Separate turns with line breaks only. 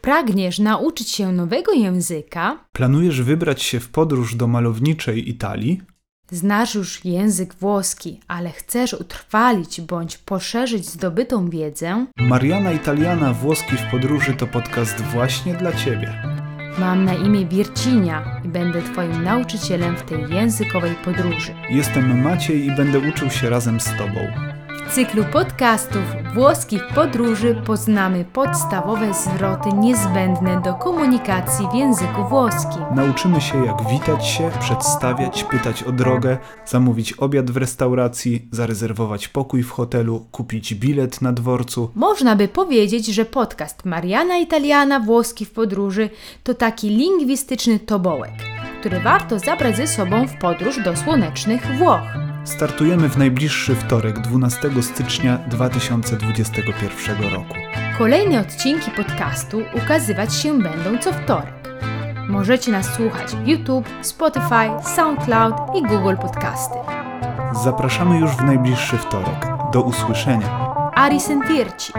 Pragniesz nauczyć się nowego języka?
Planujesz wybrać się w podróż do malowniczej Italii?
Znasz już język włoski, ale chcesz utrwalić bądź poszerzyć zdobytą wiedzę?
Mariana Italiana Włoski w podróży to podcast właśnie dla Ciebie.
Mam na imię Wircinia i będę Twoim nauczycielem w tej językowej podróży.
Jestem Maciej i będę uczył się razem z Tobą.
W cyklu podcastów Włoski w podróży poznamy podstawowe zwroty niezbędne do komunikacji w języku włoskim.
Nauczymy się jak witać się, przedstawiać, pytać o drogę, zamówić obiad w restauracji, zarezerwować pokój w hotelu, kupić bilet na dworcu.
Można by powiedzieć, że podcast Mariana Italiana Włoski w podróży to taki lingwistyczny tobołek, który warto zabrać ze sobą w podróż do słonecznych Włoch.
Startujemy w najbliższy wtorek 12 stycznia 2021 roku.
Kolejne odcinki podcastu ukazywać się będą co wtorek. Możecie nas słuchać w YouTube, Spotify, SoundCloud i Google Podcasty.
Zapraszamy już w najbliższy wtorek. Do usłyszenia.
A risentirci!